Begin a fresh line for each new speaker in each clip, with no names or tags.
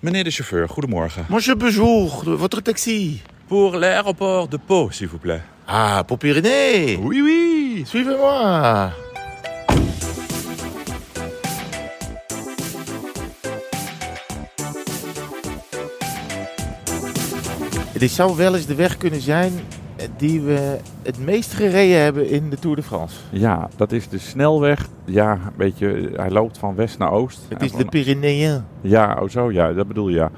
Meneer de chauffeur, goedemorgen.
Monsieur, bonjour, votre taxi.
Pour l'aéroport de Pau, s'il vous plaît.
Ah, pour Pyrénées.
Oui, oui.
Suivez-moi. Dit zou wel eens de weg kunnen zijn eh, die we het meest gereden hebben in de Tour de France.
Ja, dat is de snelweg. Ja, een beetje, hij loopt van west naar oost.
Het
En
is
van-
de Pyrénéen.
Ja, oh zo, ja, dat bedoel je. Ja,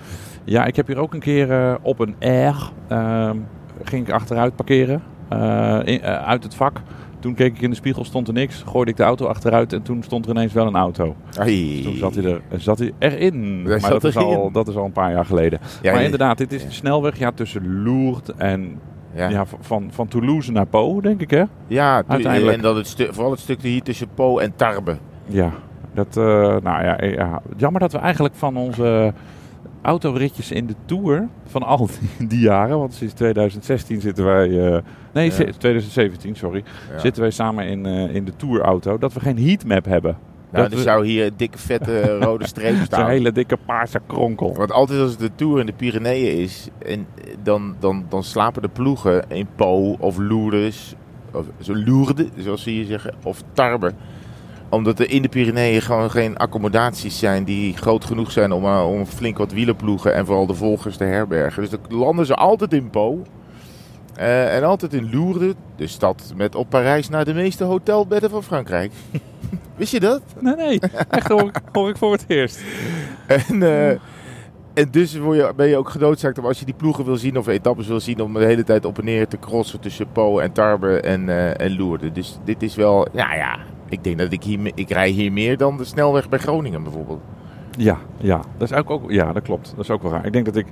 ja ik heb hier ook een keer eh, op een R ehm, ging ik achteruit parkeren. eh, in- eh, uit het vak. Toen keek ik in de spiegel, stond er niks. Gooide ik de auto achteruit en toen stond er ineens wel een auto.
Ai.
Toen zat hij, er, zat hij erin.
Hij
maar
zat
dat is,
erin.
al, dat is al een paar jaar geleden.
Ja,
maar
ja,
inderdaad, dit is
ja.
de snelweg ja, tussen Lourdes en
Ja,
ja.
ja.
van- van, van Toulouse naar Po, denk ik hè?
tu-
uiteindelijk.
en dan het stu- vooral het stukje hier tussen Po en Tarbe. Nou,
Ja, dat, eh, nou ja, eh, ja, jammer dat we eigenlijk van onze autoritjes in de Tour van al die, die jaren, want sinds 2016 zitten wij, eh, nee,
Ja.
sinds 2017, sorry,
Ja.
zitten wij samen in, eh, in de Tourauto, dat we geen heatmap hebben.
Nou,
dat
er
we-
zou hier een dikke vette rode streep
Het is een
staan.
hele dikke paarse kronkel.
Want altijd als het de Tour in de Pyreneeën is, en eh, dan, dan, dan slapen de ploegen in Po of Lourdes, of zo Lourdes, zoals ze hier zeggen, of Tarbe. Omdat er in de Pyreneeën gewoon geen accommodaties zijn die groot genoeg zijn om, eh, om flink wat wielenploegen en vooral de volgers te herbergen. Dus dan landen ze altijd in Po. eh, en altijd in Lourdes, de stad met op Parijs naar de meeste hotelbedden van Frankrijk. Wist je dat?
Nee, nee, echt hoor, ik- hoor ik voor het eerst.
En, eh, en dus word je, ben je ook genoodzaakt om als je die ploegen wil zien of etappes wil zien, om de hele tijd op en neer te crossen tussen Po en Tarbe en, eh en Lourdes. Dus dit is wel, nou ja, ik denk dat ik hier, me- ik rij hier meer dan de snelweg bij Groningen bijvoorbeeld.
Ja, ja, dat is ook, ook, ja, dat klopt. Dat is ook wel raar. Ik denk dat ik,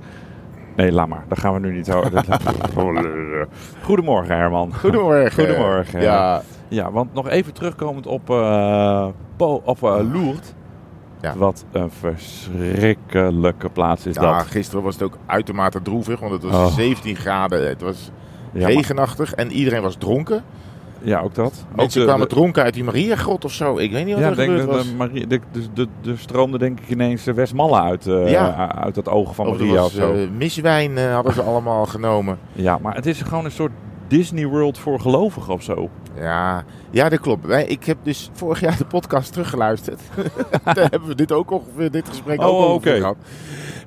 nee, laat maar, dat gaan we nu niet houden. Goedemorgen Herman.
Goedemorgen.
Goedemorgen.
Ja,
Ja, want nog even terugkomend op, eh Po- of, eh, Lourdes.
Ja.
Wat een verschrikkelijke plaats is
ja,
dat.
nou, gisteren was het ook uitermate droevig, want het was
Oh.
17 graden, het was
Ja, maar-
regenachtig en iedereen was dronken.
ja, ook dat. ook
Mensen
de-
kwamen
de-
dronken uit die Mariagrot of zo, ik weet niet wat
Ja,
er
ik denk
gebeurd
dat
was.
de Marie, de, de, de, de stroomde denk ik ineens eh, Westmalle uit, eh,
Ja.
uit dat oog van
Of er
Maria of
was
zo.
eh, miswijn eh, hadden ze allemaal genomen.
Ja, maar het is gewoon een soort Disney World voor gelovigen of zo.
Ja, ja dat klopt. Wij, ik heb dus vorig jaar de podcast teruggeluisterd. Daar hebben we dit, ook ongeveer, dit gesprek
Oh,
ook ongeveer
oké.
gehad.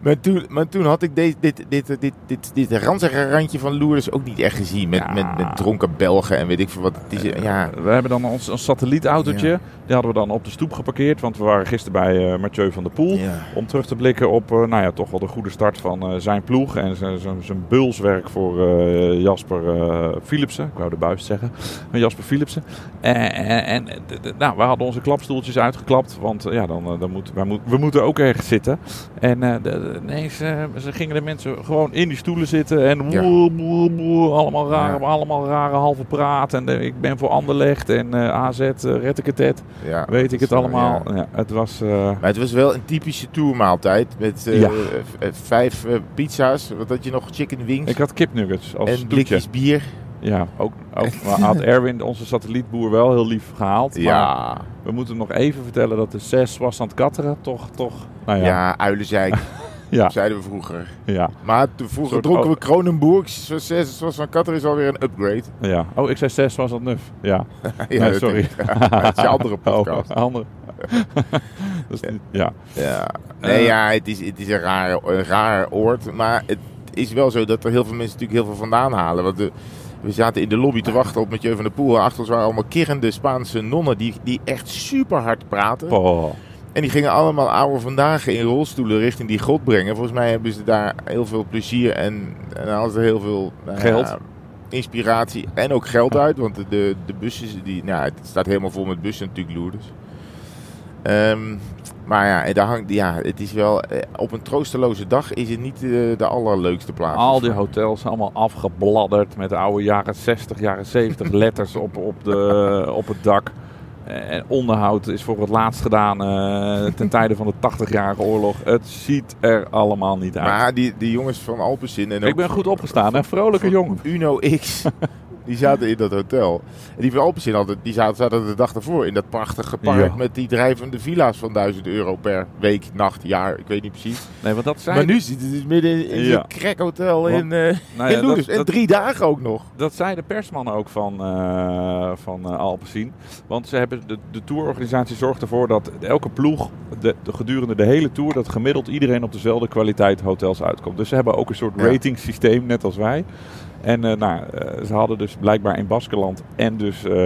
Maar toen, maar toen had ik deze dit, dit, dit, dit, dit, dit ranzige randje van Loerders ook niet echt gezien. Met,
Ja.
met, met dronken Belgen en weet ik veel wat. Het is, ja,
We hebben dan ons, ons satellietautootje.
Ja.
Die hadden we dan op de stoep geparkeerd. Want we waren gisteren bij eh, Mathieu van der Poel.
ja.
Om terug te blikken op eh, nou ja, toch wel de goede start van eh, zijn ploeg en zijn- zijn- zijn bulswerk voor eh, Jasper eh, Philipsen. Ik wou de buis zeggen. Maar Jasper Philipsen. En, en, en, d- d- nou, we hadden onze klapstoeltjes uitgeklapt, want eh, ja, dan, eh, dan moet, wij moet, we moeten ook ergens zitten. En eh, de- de- ineens eh, ze gingen de mensen gewoon in die stoelen zitten en
Ja.
woe, woe, woe, allemaal, rare,
Ja.
allemaal rare halve praat. En eh, ik ben voor Anderlecht en eh, AZ, eh, red ik het, het,
ja,
weet ik het
zo,
allemaal.
ja.
Ja, het was... eh,
Maar het was wel een typische tourmaaltijd. Met eh,
Ja.
v- eh, vijf eh, pizza's. Wat had je nog? Chicken wings.
Ik had kipnuggets als
en
toetje.
blikjes bier.
Ja, ook, ook maar had Erwin, onze satellietboer, wel heel lief gehaald. Maar
Ja.
we moeten nog even vertellen dat de 6 was aan het katteren. Toch, toch. Nou
Ja,
ja, ja.
uilenzijk.
Ja.
Zeiden we vroeger.
ja,
Maar toen vroeger
Soort
dronken
oude-
we Kronenburg. Zoals zoals van Katter is alweer een upgrade.
Oh, ik zei 6 was aan het nuf. Ja,
Ja,
nee,
dat
sorry.
denk ik. Het is een andere podcast.
Oh, andere. dat is niet, ja.
Ja. Nee,
Eh.
ja, het is, het is een raar, een raar oord. Maar het is wel zo dat er heel veel mensen natuurlijk heel veel vandaan halen. Want de- we zaten in de lobby te wachten op Mathieu van der Poel. Achter ons waren allemaal kirrende Spaanse nonnen die, die echt super hard praten.
Oh.
En die gingen allemaal oude vandaag in rolstoelen richting die grot brengen. Volgens mij hebben ze daar heel veel plezier en, en halen ze heel veel nou ja,
Geld.
inspiratie en ook geld uit. Want de, de, de bussen, die, nou, het staat helemaal vol met bussen natuurlijk, Lourdes. Ehm, maar ja, en daar hangt, ja, het is wel, eh, op een troosteloze dag is het niet eh, de allerleukste plaats.
Al die hotels allemaal afgebladderd met oude jaren 60, jaren 70 letters op, op, de, op het dak. En onderhoud is voor het laatst gedaan eh, ten tijde van de 80-jarige oorlog. Het ziet er allemaal niet uit.
Maar die, die jongens van Alpecin en ook
ik ben goed opgestaan, een vrolijke
van
jongen.
Uno X. Die zaten in dat hotel. En die van Alpecin hadden, die zaten, zaten de dag ervoor in dat prachtige park
Ja.
met die drijvende villa's van 1000 euro per week, nacht, jaar. Ik weet niet precies.
Nee, want dat zijn...
Maar nu zit het dus midden in
Ja.
zo'n crackhotel in, eh
Nou ja,
in Lourdes.
dat-
en
dat-
drie dagen ook nog.
Dat zei de persman ook van, eh van eh, Alpecin. Want ze hebben de, de tourorganisatie zorgt ervoor dat elke ploeg de, de- gedurende de hele tour... dat gemiddeld iedereen op dezelfde kwaliteit hotels uitkomt. Dus ze hebben ook een soort
Ja.
rating systeem, net als wij. En eh, nou, eh, ze hadden dus blijkbaar in Baskeland en dus eh,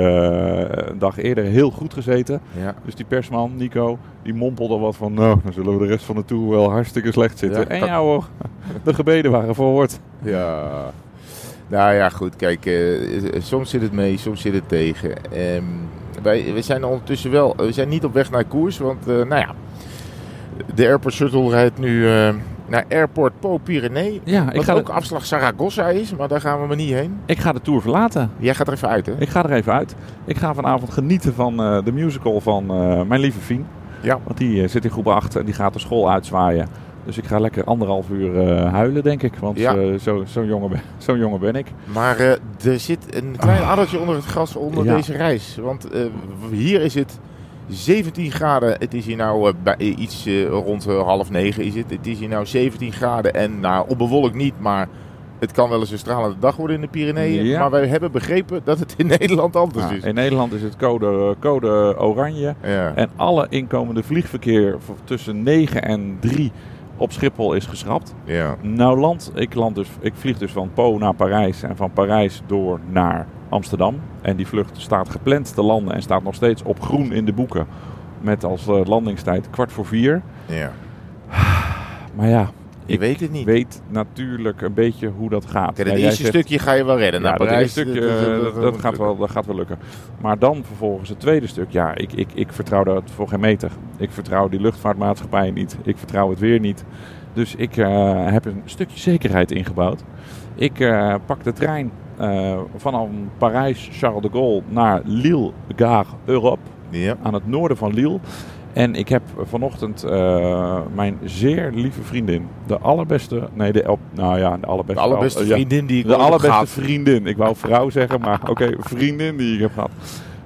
een dag eerder heel goed gezeten.
Ja.
Dus die persman, Nico, die mompelde wat van... nou, dan zullen we de rest van de tour wel hartstikke slecht zitten.
Ja,
en
kan-
ja hoor, de gebeden waren verhoord.
Ja. Nou ja, goed. Kijk, eh, soms zit het mee, soms zit het tegen. Ehm, wij, we zijn ondertussen wel... We zijn niet op weg naar koers, want eh, nou ja... De Airport Shuttle rijdt nu eh, naar Airport Po Pyrenee.
Ja, ik
Wat
ga,
ook
de,
afslag Saragossa is, maar daar gaan we maar niet heen.
ik ga de tour verlaten.
Jij gaat er even uit, hè?
Ik ga er even uit. Ik ga vanavond genieten van eh, de musical van eh, mijn lieve Fien.
Ja.
Want die eh, zit in groep 8 en die gaat de school uitzwaaien. Dus ik ga lekker anderhalf uur eh, huilen, denk ik. Want
Ja.
eh, zo- zo'n jongen, ben- zo'n jongen ben ik.
Maar eh, er zit een klein addertje onder het gras onder
Ah. Ja.
deze reis. Want eh, w- hier is het 17 graden. Het is hier nou eh, bij, eh, iets eh, rond eh, half negen is het. Het is hier nou 17 graden en nou, onbewolkt niet, maar... Het kan wel eens een stralende dag worden in de Pyreneeën.
Ja.
Maar wij hebben begrepen dat het in Nederland anders
Nou,
is.
in Nederland is het code, code oranje.
Ja.
En alle inkomende vliegverkeer v- tussen 9 en 3 op Schiphol is geschrapt.
ja.
Nou land, ik, land dus, ik vlieg dus van Po naar Parijs en van Parijs door naar Amsterdam. En die vlucht staat gepland te landen en staat nog steeds op groen in de boeken. Met als eh, landingstijd kwart voor vier.
ja.
Maar ja,
Je
Ik
weet het niet.
weet natuurlijk een beetje hoe dat gaat.
Kijk,
Ja,
het
jij
eerste
zegt-
stukje ga je wel redden Nou,
ja,
naar
Nou, dat
Parijs.
eerste stukje, eh, dat, dat gaat wel, dat gaat wel lukken. Maar dan vervolgens het tweede stuk. Ja, ik, ik, ik vertrouw dat voor geen meter. Ik vertrouw die luchtvaartmaatschappij niet. Ik vertrouw het weer niet. Dus ik eh, heb een stukje zekerheid ingebouwd. Ik eh, pak de trein eh, vanaf Parijs Charles de Gaulle naar Lille Gare Europe
Ja.
aan het noorden van Lille. En ik heb vanochtend eh, mijn zeer lieve vriendin, de allerbeste, nee, de, el- nou ja, de
De
allerbeste,
allerbeste
eh, ja,
vriendin die ik
de
ooit heb
allerbeste
gehad.
vriendin. Ik wou vrouw zeggen, maar oké, vriendin die ik heb gehad.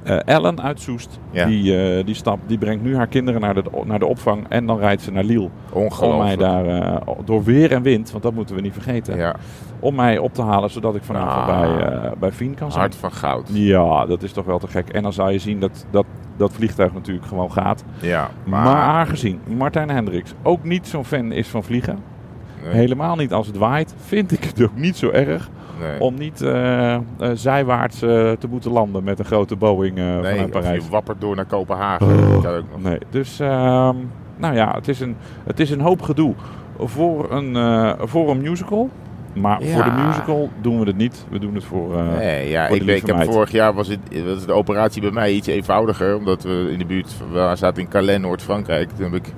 Eh, Ellen uit Soest,
Ja.
die, eh, die, stap, die brengt nu haar kinderen naar de, naar de opvang en dan rijdt ze naar Lille. Om mij
Ongelooflijk.
daar, eh, door weer en wind, want dat moeten we niet vergeten,
Ja.
om mij op te halen zodat ik vanavond
Ah.
bij, eh bij Fien kan zijn.
Hart van goud.
Ja, dat is toch wel te gek. En dan zou je zien dat dat, dat vliegtuig natuurlijk gewoon gaat.
Ja,
Maar, aangezien Martijn Hendricks ook niet zo'n fan is van vliegen,
Nee,
helemaal niet als het waait, vind ik het ook niet zo erg
nee.
om niet eh, eh, zijwaarts eh, te moeten landen met een grote Boeing eh
nee,
vanuit
of
Parijs. Oh,
je wappert door naar Kopenhagen. Dat kan ook nog.
Nee, dus ehm, nou ja, het is, een, het is een hoop gedoe voor een, eh, voor een musical. Maar
Ja.
voor de musical doen we het niet. We doen het voor... eh,
Nee, ja,
voor de
ik, weet- ik heb
lieve meid.
vorig jaar was, het, was de operatie bij mij iets eenvoudiger. Omdat we in de buurt van- we zaten in Calais, Noord-Frankrijk. Toen heb ik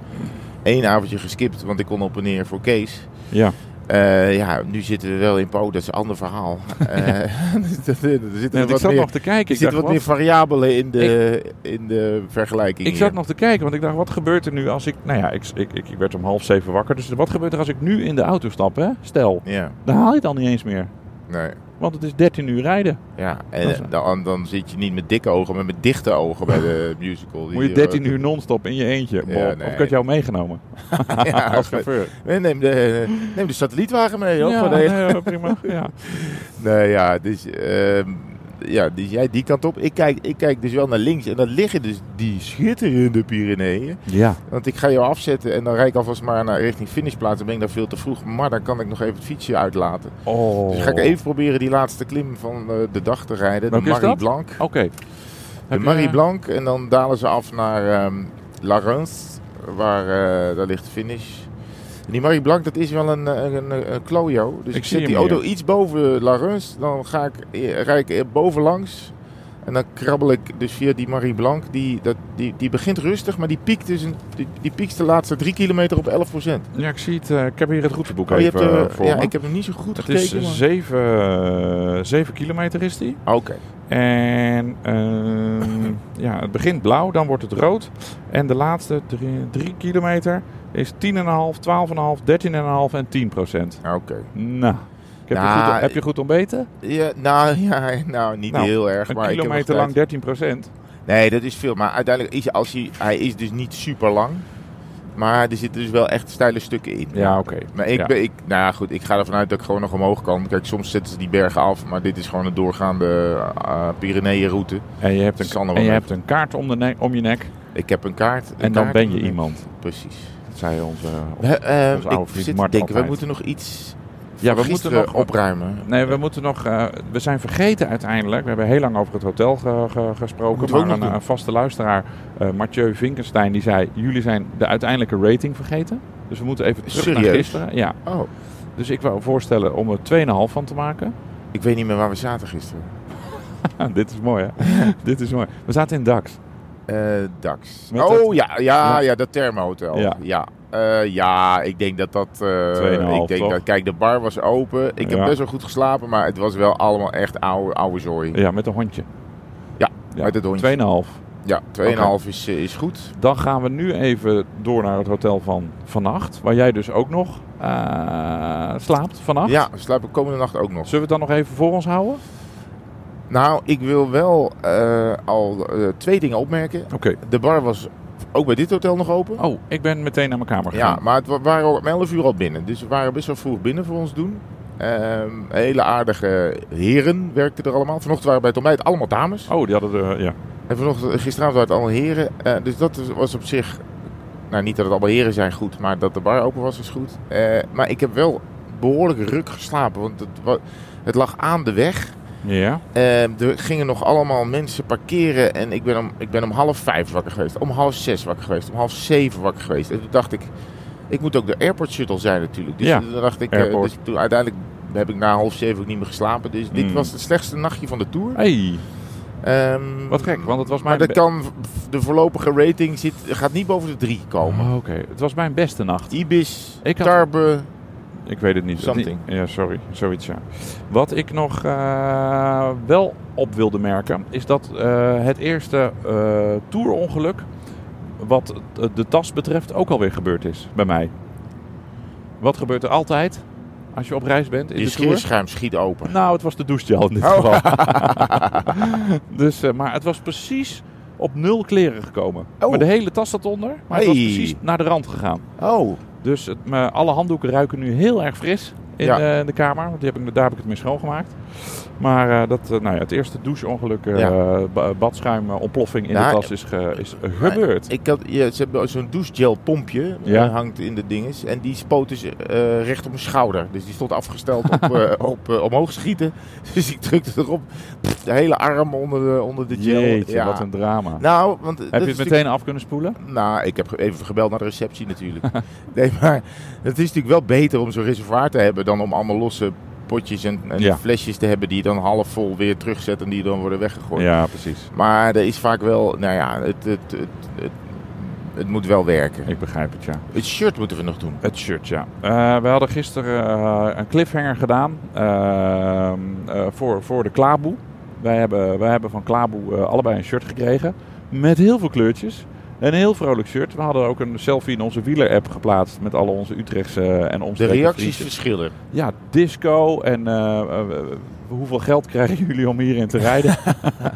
één avondje geskipt, want ik kon op en neer voor Kees.
Ja.
Eh, ja, nu zitten we wel in Po, dat is een ander verhaal. Eh, er zitten er
Nee, want ik
wat
zat
meer,
nog te kijken.
er
Ik dacht,
zitten wat
wat
meer variabelen in de, in de vergelijking
Ik
hier.
zat nog te kijken, want ik dacht, wat gebeurt er nu als ik... Nou ja, ik, ik, ik, ik werd om half zeven wakker. Dus wat gebeurt er als ik nu in de auto stap, hè? Stel,
Ja,
dan haal je het al niet eens meer.
nee.
Want het is 13 uur rijden.
Ja,
Dat
en
is-
dan, dan zit je niet met dikke ogen, maar met dichte ogen bij de musical.
Moet je
Die- eh,
13 uur non-stop in je eentje.
Ja,
Bob,
nee.
Of ik had jou meegenomen.
Ja,
als chauffeur.
Nee, neem, de, neem de satellietwagen mee. Joh.
Ja,
Gewoon, nee.
nee, ja, prima. Ja.
Nee, ja, dus, ehm, ja, dus jij die kant op. Ik kijk, ik kijk dus wel naar links. En dan liggen dus die schitterende Pyreneeën.
ja.
Want ik ga jou afzetten en dan rijd ik alvast maar naar richting finishplaats. Dan ben ik daar veel te vroeg. Maar dan kan ik nog even het fietsje uitlaten.
Oh.
Dus ga ik even proberen die laatste klim van eh, de dag te rijden.
Welke
de
is
Marie
dat?
Blanc.
Oké.
De
Heb je-
Marie Blanc. En dan dalen ze af naar ehm La Reims, waar eh, daar ligt de finish. En die Marie Blanc, dat is wel een, eh, een, een, een klojo. Dus
Ik
ik,
zie
zet die
hem
auto iets boven La Reims. Dan ga ik, eh, rij ik eh, bovenlangs. En dan krabbel ik dus via die Marie Blanc. Die, dat, die, die begint rustig, maar die piekt, dus een, die, die piekt de laatste drie kilometer op 11 procent.
Ja, ik zie het. eh, ik heb hier het routeboek
Oh, je hebt,
even
eh,
eh, voor
ja,
me.
ik heb hem niet zo goed
Het is
gekeken.
eh,
maar-
7, eh, 7 kilometer is die.
Ah, Oké.
En ehm, ja, het begint blauw, dan wordt het rood. En de laatste 3 kilometer is 10,5, 12,5, 13,5 en 10 procent.
Ah, Oké.
Nou, Heb, je,
Nou,
goed, heb je goed ontbeten?
Ja, nou, ja, nou, niet
Nou,
heel erg.
Een
maar ik heb
kilometer
wel
lang 13 procent.
tijd. Nee, dat is veel. Maar uiteindelijk is hij- als hij, hij is dus niet super lang. Maar er zitten dus wel echt steile stukken in.
Ja, oké.
Maar ik,
Ja.
ben, ik, nou ja, goed, ik ga ervan uit dat ik gewoon nog omhoog kan. Kijk, soms zetten ze die bergen af, maar dit is gewoon een doorgaande eh Pyreneeënroute.
En je hebt
Dat zal nog
een,
wel
en je
mee.
hebt een kaart om, de nek, om je nek.
Ik heb een kaart. een
En dan
kaart
ben
in
je
mijn-
iemand.
Precies.
Dat zei onze...
We, eh,
Onze oude
ik
vriend
zit te
Mart
denken, we
altijd.
moeten nog iets
Ja, we moeten
gisteren
nog...
opruimen.
Nee, we moeten nog... eh, we zijn vergeten uiteindelijk. We hebben heel lang over het hotel ge- ge- gesproken.
Moeten
Maar
we ook nog
een,
doen.
een vaste luisteraar, eh Mathieu Vinkenstein, die zei... Jullie zijn de uiteindelijke rating vergeten. Dus we moeten even terug naar
Serieus?
gisteren. Ja.
Oh,
Dus ik wou voorstellen om er 2,5 van te maken.
ik weet niet meer waar we zaten gisteren.
Dit is mooi, hè? Dit is mooi. We zaten in DAX.
Eh, DAX.
Met
oh
het-
ja,
Ja.
ja, ja, dat thermohotel.
Ja.
Ja. Ja. Eh, ja, ik denk dat dat... eh,
2,5
ik denk
toch?
dat, kijk, de bar was open. Ik
Ja.
heb best wel goed geslapen, maar het was wel allemaal echt oude, oude zooi.
Ja, met een hondje.
Ja,
Ja,
met het hondje.
2,5.
Ja, 2,5 is, eh, is goed.
Dan gaan we nu even door naar het hotel van vannacht. Waar jij dus ook nog eh, slaapt vannacht.
Ja, we slapen komende nacht ook nog.
Zullen we het dan nog even voor ons houden?
Nou, ik wil wel eh, al eh, twee dingen opmerken.
Oké.
De bar was ook bij dit hotel nog open.
Oh, ik ben meteen naar mijn kamer gegaan.
Ja, maar het wa- waren ook om 11 uur al binnen. Dus we waren best wel vroeg binnen voor ons doen. Ehm, hele aardige heren werkten er allemaal. Vanochtend waren bij het ontbijt allemaal dames.
Oh, die hadden de... Ja.
En vanochtend, eh, gisteravond waren het allemaal heren. Eh, dus dat is- was op zich... Nou, niet dat het allemaal heren zijn goed, maar dat de bar open was is goed. Eh, maar ik heb wel behoorlijk ruk geslapen, want het, wa- het lag aan de weg.
Ja.
Eh, er gingen nog allemaal mensen parkeren en ik ben, om, ik ben om half vijf wakker geweest. Om half zes wakker geweest. Om half zeven wakker geweest. En toen dacht ik, ik moet ook de airport shuttle zijn natuurlijk. Dus
Ja,
toen dacht ik, eh,
airport.
dus toen, uiteindelijk heb ik na half zeven ook niet meer geslapen. Dus dit
Mm.
was het slechtste nachtje van de tour.
Hey,
Ehm,
wat gek, want het was
Maar
mijn...
dat
be-
kan, de voorlopige rating zit, gaat niet boven de drie komen.
Oh, Oké, het was mijn beste nacht.
Ibis,
Oh. Ik had-
Tarbe,
Ik weet het niet.
Something.
Ja, sorry. Zoiets, ja. Wat ik nog eh, wel op wilde merken, is dat eh, het eerste eh tourongeluk, wat t- de tas betreft, ook alweer gebeurd is bij mij. Wat gebeurt er altijd als je op reis bent in
je
de tour?
scheerschuim schiet open.
Nou, het was de douchegel in dit
Oh.
geval. dus, eh, maar het was precies op nul kleren gekomen.
Oh.
Maar de hele tas zat onder, maar het was
Hey.
precies naar de rand gegaan.
Oh,
Dus het, me- alle handdoeken ruiken nu heel erg fris in
Ja.
eh, de kamer. Want die heb ik, daar heb ik het mee schoongemaakt. Maar eh, dat, eh, nou ja, het eerste doucheongeluk, eh ba- badschuim, eh, ontploffing in de
Nou,
tas is, ge- is gebeurd.
Ik had, ja, ze hebben zo'n douchegelpompje
Ja.
eh, hangt in de dinges. En die spoot dus eh, recht op mijn schouder. Dus die stond afgesteld op, eh, op eh, omhoog schieten. Dus ik drukte erop. Pff, de hele arm onder de, onder de gel.
Jeetje,
Ja.
wat een drama.
Nou, want
heb je het meteen af kunnen spoelen?
nou, ik heb ge- even gebeld naar de receptie natuurlijk. nee, maar het is natuurlijk wel beter om zo'n reservoir te hebben dan om allemaal losse potjes en, en
Ja.
flesjes te hebben die je dan half vol weer terugzet en die dan worden weggegooid.
Ja, precies.
Maar er is vaak wel, nou ja, het, het, het, het, het moet wel werken.
Ik begrijp het, ja.
Het shirt moeten we nog doen.
Het shirt, ja. Eh, we hadden gisteren eh, een cliffhanger gedaan ehm, eh, voor, voor de Klaboe. Wij hebben, wij hebben van Klaboe eh, allebei een shirt gekregen. Met heel veel kleurtjes. Een heel vrolijk shirt. We hadden ook een selfie in onze wieler-app geplaatst met alle onze Utrechtse en
De
omstreken
reacties
vriendjes.
verschillen.
Ja, disco en eh, eh, eh, hoeveel geld krijgen jullie om hierin te rijden?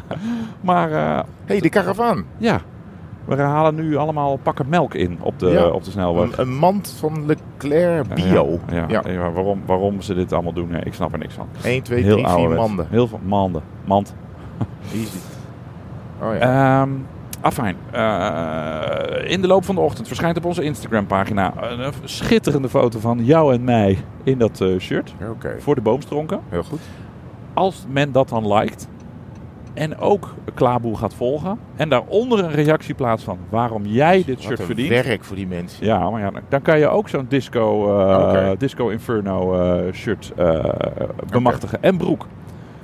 maar eh,
hey, de karavaan.
ja, we halen nu allemaal pakken melk in op de,
Ja.
op de snelweg.
Een, een mand van Leclerc Bio.
Ja, ja,
Ja.
ja, waarom, waarom ze dit allemaal doen, nee, ik snap er niks van.
1, 2, 3, 4
ouderwets.
manden.
Heel veel manden. Mand.
Wie is dit? Oh ja.
Ehm afijn. Eh, in de loop van de ochtend verschijnt op onze Instagram-pagina een een schitterende foto van jou en mij in dat eh, shirt.
Oké,
Voor de boomstronken.
heel goed.
Als men dat dan liked. En ook Klaboe gaat volgen. En daaronder een reactie plaatst van waarom jij dit
Wat
shirt
een
verdient.
werk voor die mensen.
Ja, maar ja, dan- dan kan je ook zo'n disco, eh,
Oké.
disco Inferno eh, shirt eh, bemachtigen. En broek.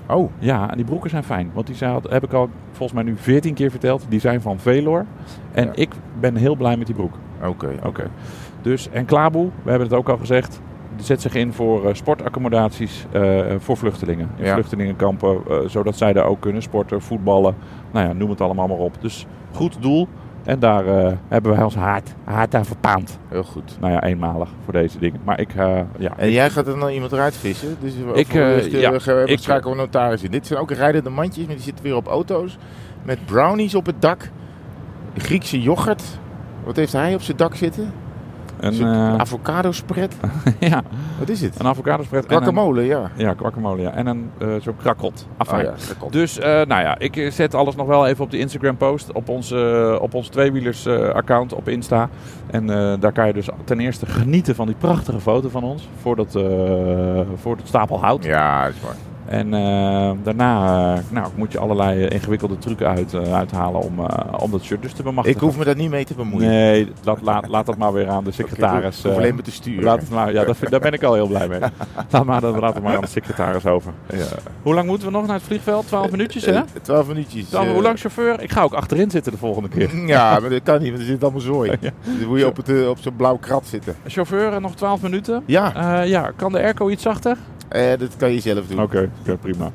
Oh,
Ja, en die broeken zijn fijn. Want die zijn, heb ik al volgens mij nu 14 keer verteld. Die zijn van Velor. En
Ja.
ik ben heel blij met die broek.
oké.
Oké. Dus, en Klaboe, we hebben het ook al gezegd. die Zet zich in voor eh, sportaccommodaties eh, voor vluchtelingen. In
Ja.
vluchtelingenkampen, eh, zodat zij daar ook kunnen sporten, voetballen. Nou ja, noem het allemaal maar op. Dus goed doel. En daar eh, hebben wij ons hart, hart aan verpaand.
Heel goed.
Nou ja, eenmalig voor deze dingen. Maar ik, eh, ja,
En jij gaat er dan iemand eruit vissen. Dus we
Ik, eh, ja, ik- eh,
ik schakelen we een notaris in. Dit zijn ook rijdende mandjes, maar die zitten weer op auto's. Met brownies op het dak. Griekse yoghurt. Wat heeft hij op zijn dak zitten?
een,
Een
eh,
avocado spread.
ja,
Wat is het?
een avocadospread. en een- Oh,
Guacamole, ja.
Ja, guacamole, ja. En een eh zo'n krakot. Afijn.
Oh ja, dat komt.
Dus, eh, nou ja, ik eh, zet alles nog wel even op de Instagram-post. Op ons, eh, op ons tweewielers-account op Insta. En eh, daar kan je dus ten eerste genieten van die prachtige foto van ons. Voor dat, eh, voor dat stapel hout.
Ja, dat is mooi.
En eh, daarna eh, nou, moet je allerlei eh, ingewikkelde trucs uit, eh, uithalen om, eh, om dat shirt dus te bemachtigen.
Ik hoef me daar niet mee te bemoeien.
Nee, laat, laat, laat dat maar weer aan de secretaris.
Ik hoef
eh,
alleen maar te sturen.
laat het maar, ja, dat vind- daar ben ik al heel blij mee. Laat maar, dat laten we maar aan de secretaris over.
ja.
Hoe lang moeten we nog naar het vliegveld? 12 minuutjes, hè?
Eh, 12 minuutjes.
Dan,
eh,
hoe lang chauffeur? Ik ga ook achterin zitten de volgende keer.
Ja, maar dat kan niet, want er zit allemaal zooi.
Ja.
Dus moet je op, het, eh, op zo'n blauw krat zitten.
Chauffeur, eh, nog 12 minuten.
Ja,
Eh, ja, kan de airco iets zachter?
eh, dat kan je zelf doen.
Oké, oké, prima.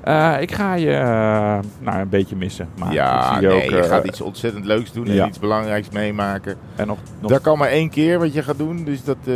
Eh, ik ga je eh, nou, een beetje missen. Maar ik
Ja,
zie je
nee,
ook,
je
eh,
gaat iets ontzettend leuks doen en
ja.
iets belangrijks meemaken.
En nog, nog,
Dat kan maar één keer wat je gaat doen, dus dat... eh,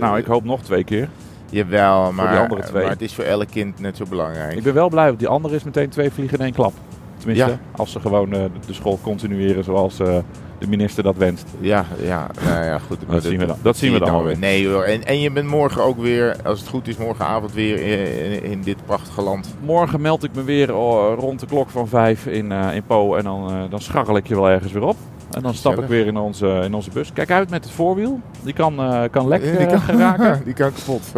nou, ik hoop nog twee keer.
Jawel, maar,
die andere twee.
maar het is voor elk kind net zo belangrijk.
Ik ben wel blij, want die andere is meteen twee vliegen in één klap. Tenminste,
Ja.
als ze gewoon eh, de school continueren zoals eh, de minister dat wenst.
Ja, ja, nou ja, goed. maar
zien we dan- dat zien we
zie je
dan alweer.
Nee hoor, en, en je bent morgen ook weer, als het goed is, morgenavond weer in, in- in dit prachtige land.
Morgen meld ik me weer eh, rond de klok van vijf in, eh, in Po. En dan, eh, dan scharrel ik je wel ergens weer op. En dan stap ik
Gezellig.
weer in onze, in onze bus. Kijk uit met het voorwiel. Die kan, eh, kan lek
Die
eh, raken.
Die kan kapot.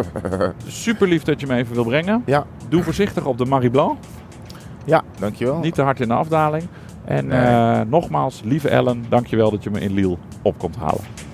Super lief dat je me even wil brengen.
Ja.
Doe voorzichtig op de Marie Blanc.
ja, dankjewel.
Niet te hard in de afdaling. En
Oh. Nee.
eh, nogmaals, lieve Ellen, dankjewel dat je me in Liel op komt halen.